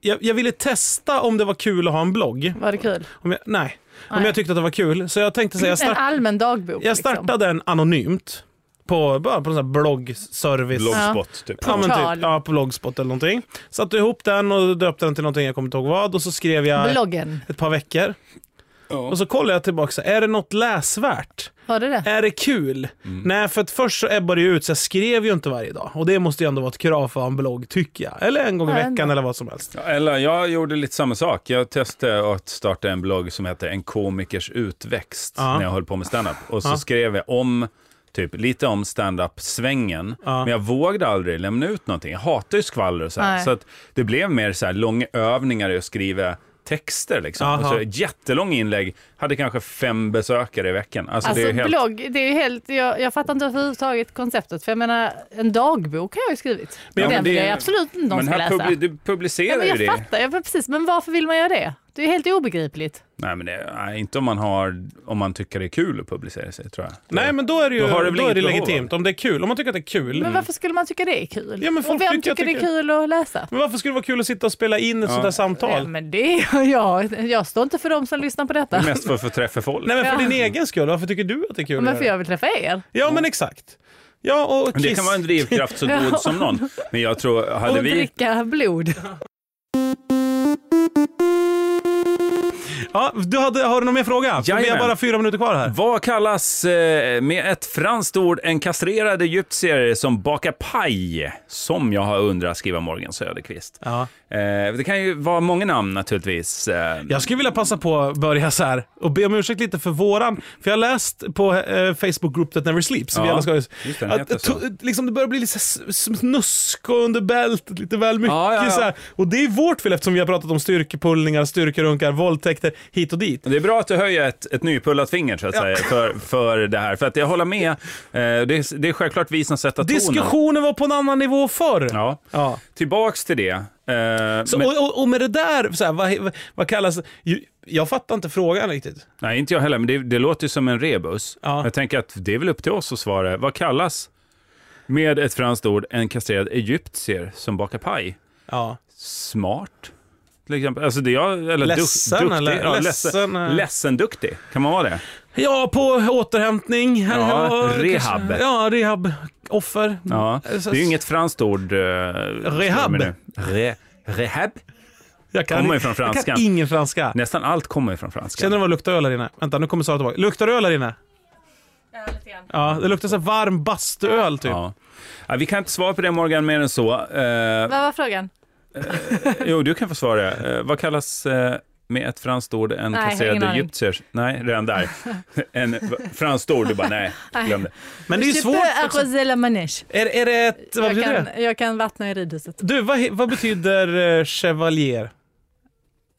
E: Jag, jag ville testa om det var kul att ha en blogg.
C: Var det kul?
D: Alltså,
E: Om jag, nej. Om
C: Nej.
E: jag tyckte att det var kul. Så jag tänkte så här, jag,
C: En liksom.
E: start,
C: allmän dagbok.
E: jag startade en anonymt. På, bara på en sån här bloggservice.
D: Bloggspot typ.
E: Ja, men
C: Portal.
E: typ, ja, på Blogspot eller någonting. Satte ihop den och döpte den till någonting jag kommer inte ihåg vad. Och så skrev jag
C: Liksom. Bloggen,
E: ett par veckor. Och så kollade jag tillbaka, så här, är det något läsvärt?
C: var det det?
E: Är det kul?
D: Mm.
E: Nej, för att först så ebbade det ut, så jag skrev ju inte varje dag. Och det måste ju ändå vara ett krav för en blogg, tycker jag. Eller en gång i
C: Ja,
E: veckan
C: ändå.
E: eller vad som helst.
D: Ja, Eller jag gjorde lite samma sak. Jag testade att starta en blogg som heter En komikers utväxt
E: Ja.
D: när jag höll på med standup. Och så
E: Ja.
D: skrev jag om, typ lite om standup-svängen. Men jag vågade aldrig lämna ut någonting. Jag hatar ju skvaller och så här.
C: Nej.
D: Så att det blev mer så här långa övningar i att skriva texter liksom.
E: Aha.
D: Och så ett jättelång inlägg, hade kanske fem besökare i veckan. Alltså,
C: Alltså
D: det är ju helt...
C: blogg, det är ju helt, jag, jag fattar inte överhuvudtaget konceptet. För jag menar, en dagbok har jag ju skrivit.
D: Ja,
C: Men
D: men
C: den
D: det-
C: vill jag absolut inte någon
D: Men
C: ska
D: här
C: läsa.
D: publi- du publicerar
C: Ja, men
D: ju
C: jag
D: det.
C: fattar, ja, men precis. Men varför vill man göra det? Det är ju helt obegripligt.
D: Nej, men det, nej, inte om man, har, om man tycker det är kul att publicera sig tror jag.
E: Nej, men då är det ju
D: Då har du väl
E: då är det
D: inget behov av
E: legitimt. Om det är kul, om man tycker att det är kul.
C: Men varför skulle man tycka det är kul?
E: Mm. Ja, men folk
C: och vem tycker,
E: tycker- jag
C: det är
E: tycker-
C: kul att läsa?
E: Men varför skulle det vara kul att sitta och spela in ett sånt här samtal?
C: Ja, men det är jag. Jag står inte för dem som lyssnar på detta. Men,
D: Mest för att få träffa folk.
E: Nej, men för
C: Ja.
E: din egen skull. Varför tycker du att det är kul
C: men Mm.
E: att
C: för
E: göra
C: jag vill träffa er.
E: det? Ja, men exakt. Ja, och
D: Men
E: Kiss.
D: Det kan vara en drivkraft så god som någon. Men jag tror, hade
C: Och
D: vi...
C: dricka blod.
E: ja, du hade, har du någon mer fråga? För Vi har
D: Jajamän.
E: bara fyra minuter kvar här.
D: Vad kallas eh, med ett franskt ord en kastrerad egyptier som bakar paj? Som jag har undrat, skriver Morgan Söderqvist.
E: Ja.
D: Eh, det kan ju vara många namn naturligtvis. Eh,
E: Jag skulle vilja passa på att börja så här och be om ursäkt lite för våran, för jag har läst på eh, Facebook Group That Never Sleeps,
D: Ja,
E: vi alla ska
D: just det, den
E: att,
D: heter så.
E: to- liksom, det börjar bli lite så här s- snusk och under bältet, lite väl mycket
D: Ja, ja, ja.
E: så här. Och det är vårt fel eftersom vi har pratat om styrkepullningar, styrkerunkar, våldtäkter, hit och dit.
D: Det är bra att du höjer ett, ett nypullat finger så att säga, för, för det här. För att jag håller med. Eh, det, är, det är självklart vi som sätter tonen.
E: Diskussionen var på en annan nivå förr.
D: Ja.
E: Ja.
D: Tillbaks till det. Eh,
E: Så,
D: men,
E: och, och, och med det där, så här, vad, vad- vad kallas ju- Jag fattar inte frågan riktigt.
D: nej, inte jag heller, men det, det låter ju som en rebus.
E: Ja.
D: Jag tänker att det är väl upp till oss att svara. Vad kallas med ett franskt ord en kastrerad egyptier som bakar paj?
E: Ja. Smart?
D: Till exempel. Alltså det är jag, eller
E: Ledsen,
D: duktig.
E: eller?
D: Ja,
E: Ledsen, eh.
D: ledsen, ledsen duktig. Kan man vara det?
E: Ja, på återhämtning.
D: Ja,
E: och-
D: rehab.
E: kanske- Ja, rehab. Offer.
D: Ja. Det
E: Så-
D: är ju inget franskt ord. eh,
E: Alltså, Rehab.
D: som är nu. Re, rehab?
E: Jag kan,
D: Kommer ju från
E: Jag
D: franskan.
E: kan ingen franska.
D: Nästan allt kommer ju från franska.
E: Känner du vad det luktar öl här inne? Vänta, nu kommer Sara tillbaka. Luktar det öl här inne? Ja, det luktar så här varm bastuöl typ.
D: Ja. Ja, vi kan inte svara på det Morgan mer än så. Eh,
C: Vad var frågan?
D: jo, du kan få svara. Eh, vad kallas eh, med ett franskt ord en
C: Nej,
D: kasserad
C: ingen aning.
D: egyptier? Nej, redan där. en franskt ord, du bara nej, glöm det.
E: Men det är ju svårt. Också. Är, är det ett, vad
C: Jag
E: betyder det?
C: kan, jag kan vattna i ridhuset.
E: Du, vad, he- vad betyder eh, chevalier?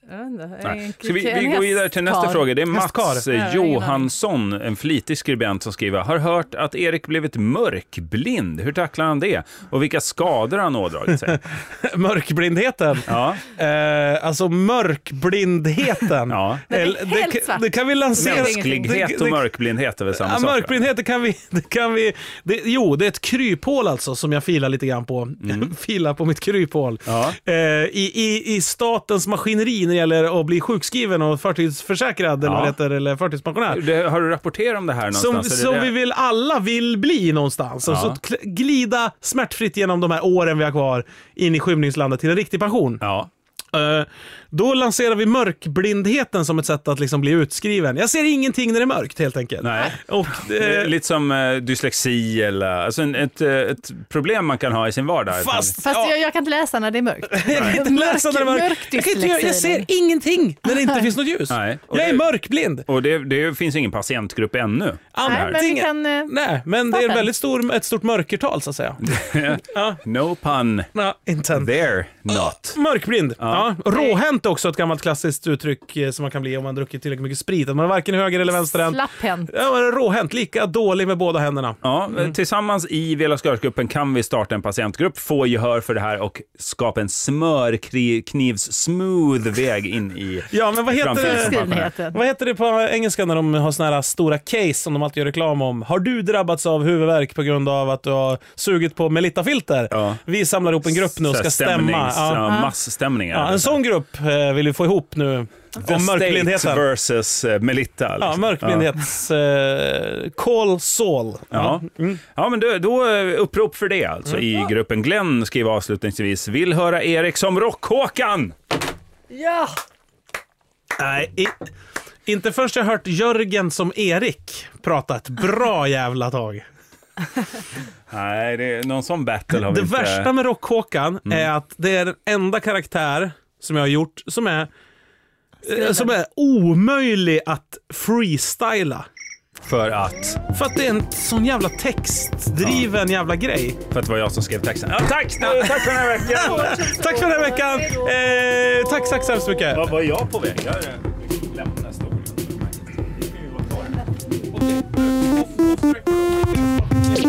C: Jag vet inte.
D: Nej.
C: En-
D: Ska vi,
C: en
D: vi går vidare till nästa
C: hästkar.
D: fråga. Det är Mats
E: Hästkar.
D: eh,
C: Ja, ingen aning.
D: Johansson, en flitig skribent som skriver, har hört att Erik blivit mörkblind. Hur tacklar han det? Och vilka skador han ådragit sig?
E: Mörkblindheten.
D: Ja,
E: Eh, alltså mörkblindheten.
D: ja.
C: Nej,
E: Eller-
C: helt
E: det, kan-
C: svart.
E: det kan vi lansera.
D: Mänsklighet och mörkblindhet är väl samma
E: Ja,
D: sak? va?
E: mörkblindhet, det kan vi... Det kan vi det, jo, det är ett kryphål alltså som jag filar lite grann på. filar på mitt kryphål.
D: Mm. Ja.
E: Eh, i, i, I statens maskineri när det gäller att bli sjukskriven och förtidsförsäkrad eller,
D: Ja.
E: vad det heter, eller förtidspensionär.
D: Det, har du rapporterat om det här
E: Som,
D: någonstans? Är
E: som
D: det det?
E: vi vill, alla vill bli någonstans. Och
D: Ja.
E: så kl- glida smärtfritt genom de här åren vi har kvar in i skymningslandet till en riktig pension.
D: Ja.
E: Eh, då lanserar vi mörkblindheten som ett sätt att liksom bli utskriven. Jag ser ingenting när det är mörkt helt enkelt.
D: Nej.
E: Och,
D: Det är
E: eh,
D: Lite som eh, dyslexi eller alltså en, ett, eh, ett problem man kan ha i sin vardag.
E: fast...
C: Fast
E: ja.
C: jag, jag kan inte läsa när det är mörkt.
E: Jag kan inte läsa när det är
C: Mörk-
E: mörkt. Jag, kan inte, göra- jag ser
C: mörkdyslexi.
E: ingenting när det inte finns något ljus.
D: Nej. Och
E: Jag är
D: det-
E: mörkblind.
D: Och det, det finns ingen patientgrupp ännu.
C: Nej, men vi kan... eh,
E: Nej, men det är en
C: Fattar.
E: väldigt stor, ett stort mörkertal så att säga.
D: No pun
E: Ja, inte än.
D: there not.
E: Mörkblind. Ja. Ja, råhänt är också ett gammalt klassiskt uttryck eh, som man kan bli om man druckit tillräckligt mycket sprit. Att man är varken höger eller vänsterhänt.
C: Slapphänt.
E: Ja, man är råhänt, lika dålig med båda händerna.
D: Ja, eh, Tillsammans i Vela Skörsgruppen kan vi starta en patientgrupp, få gehör för det här och skapa en smörknivs-smooth väg in i
E: Ja, men vad heter,
D: framtiden som
E: det,
D: pensionär.
C: Skrivenheten.
E: vad heter det på engelska när de har såna här stora case som de alltid gör reklam om? Har du drabbats av huvudvärk på grund av att du har sugit på Melittafilter?
D: Ja.
E: Vi samlar ihop en grupp nu och
D: Så här
E: ska stämma.
D: stämnings-
E: Ja.
D: Ja, massstämningar.
E: Ja, en sån grupp eh, vill vi få ihop nu.
D: The
E: Om
D: States
E: mörkblindheten.
D: versus eh, Melitta. liksom.
E: Ja, mörkblindhets... Eh, call Saul.
D: Ja. Mm.
E: Mm.
D: ja, men då, då eh, upprop för det alltså i gruppen. Glenn skriver avslutningsvis, vill höra Erik som Rockhåkan.
C: Ja!
E: Nej, i, inte först jag hört Jörgen som Erik prata ett bra jävla tag.
D: Nej, det är någon sån battle har
E: Det
D: vi inte. Mm.
E: värsta med Rockhåkan är att det är den enda karaktär som jag har gjort som är, eh, som är omöjlig att freestyla.
D: För att,
E: För att det är en sån jävla textdriven jävla grej.
D: för att det var jag som skrev texten. Ja, tack, tack för den här veckan.
E: Tack för den här veckan! Eh, tack, tack så hemskt mycket.
D: Vad var jag på väg? Jag eh, lämnar stolen. Vi kan ju vara kvar här. Okej. Off- off record.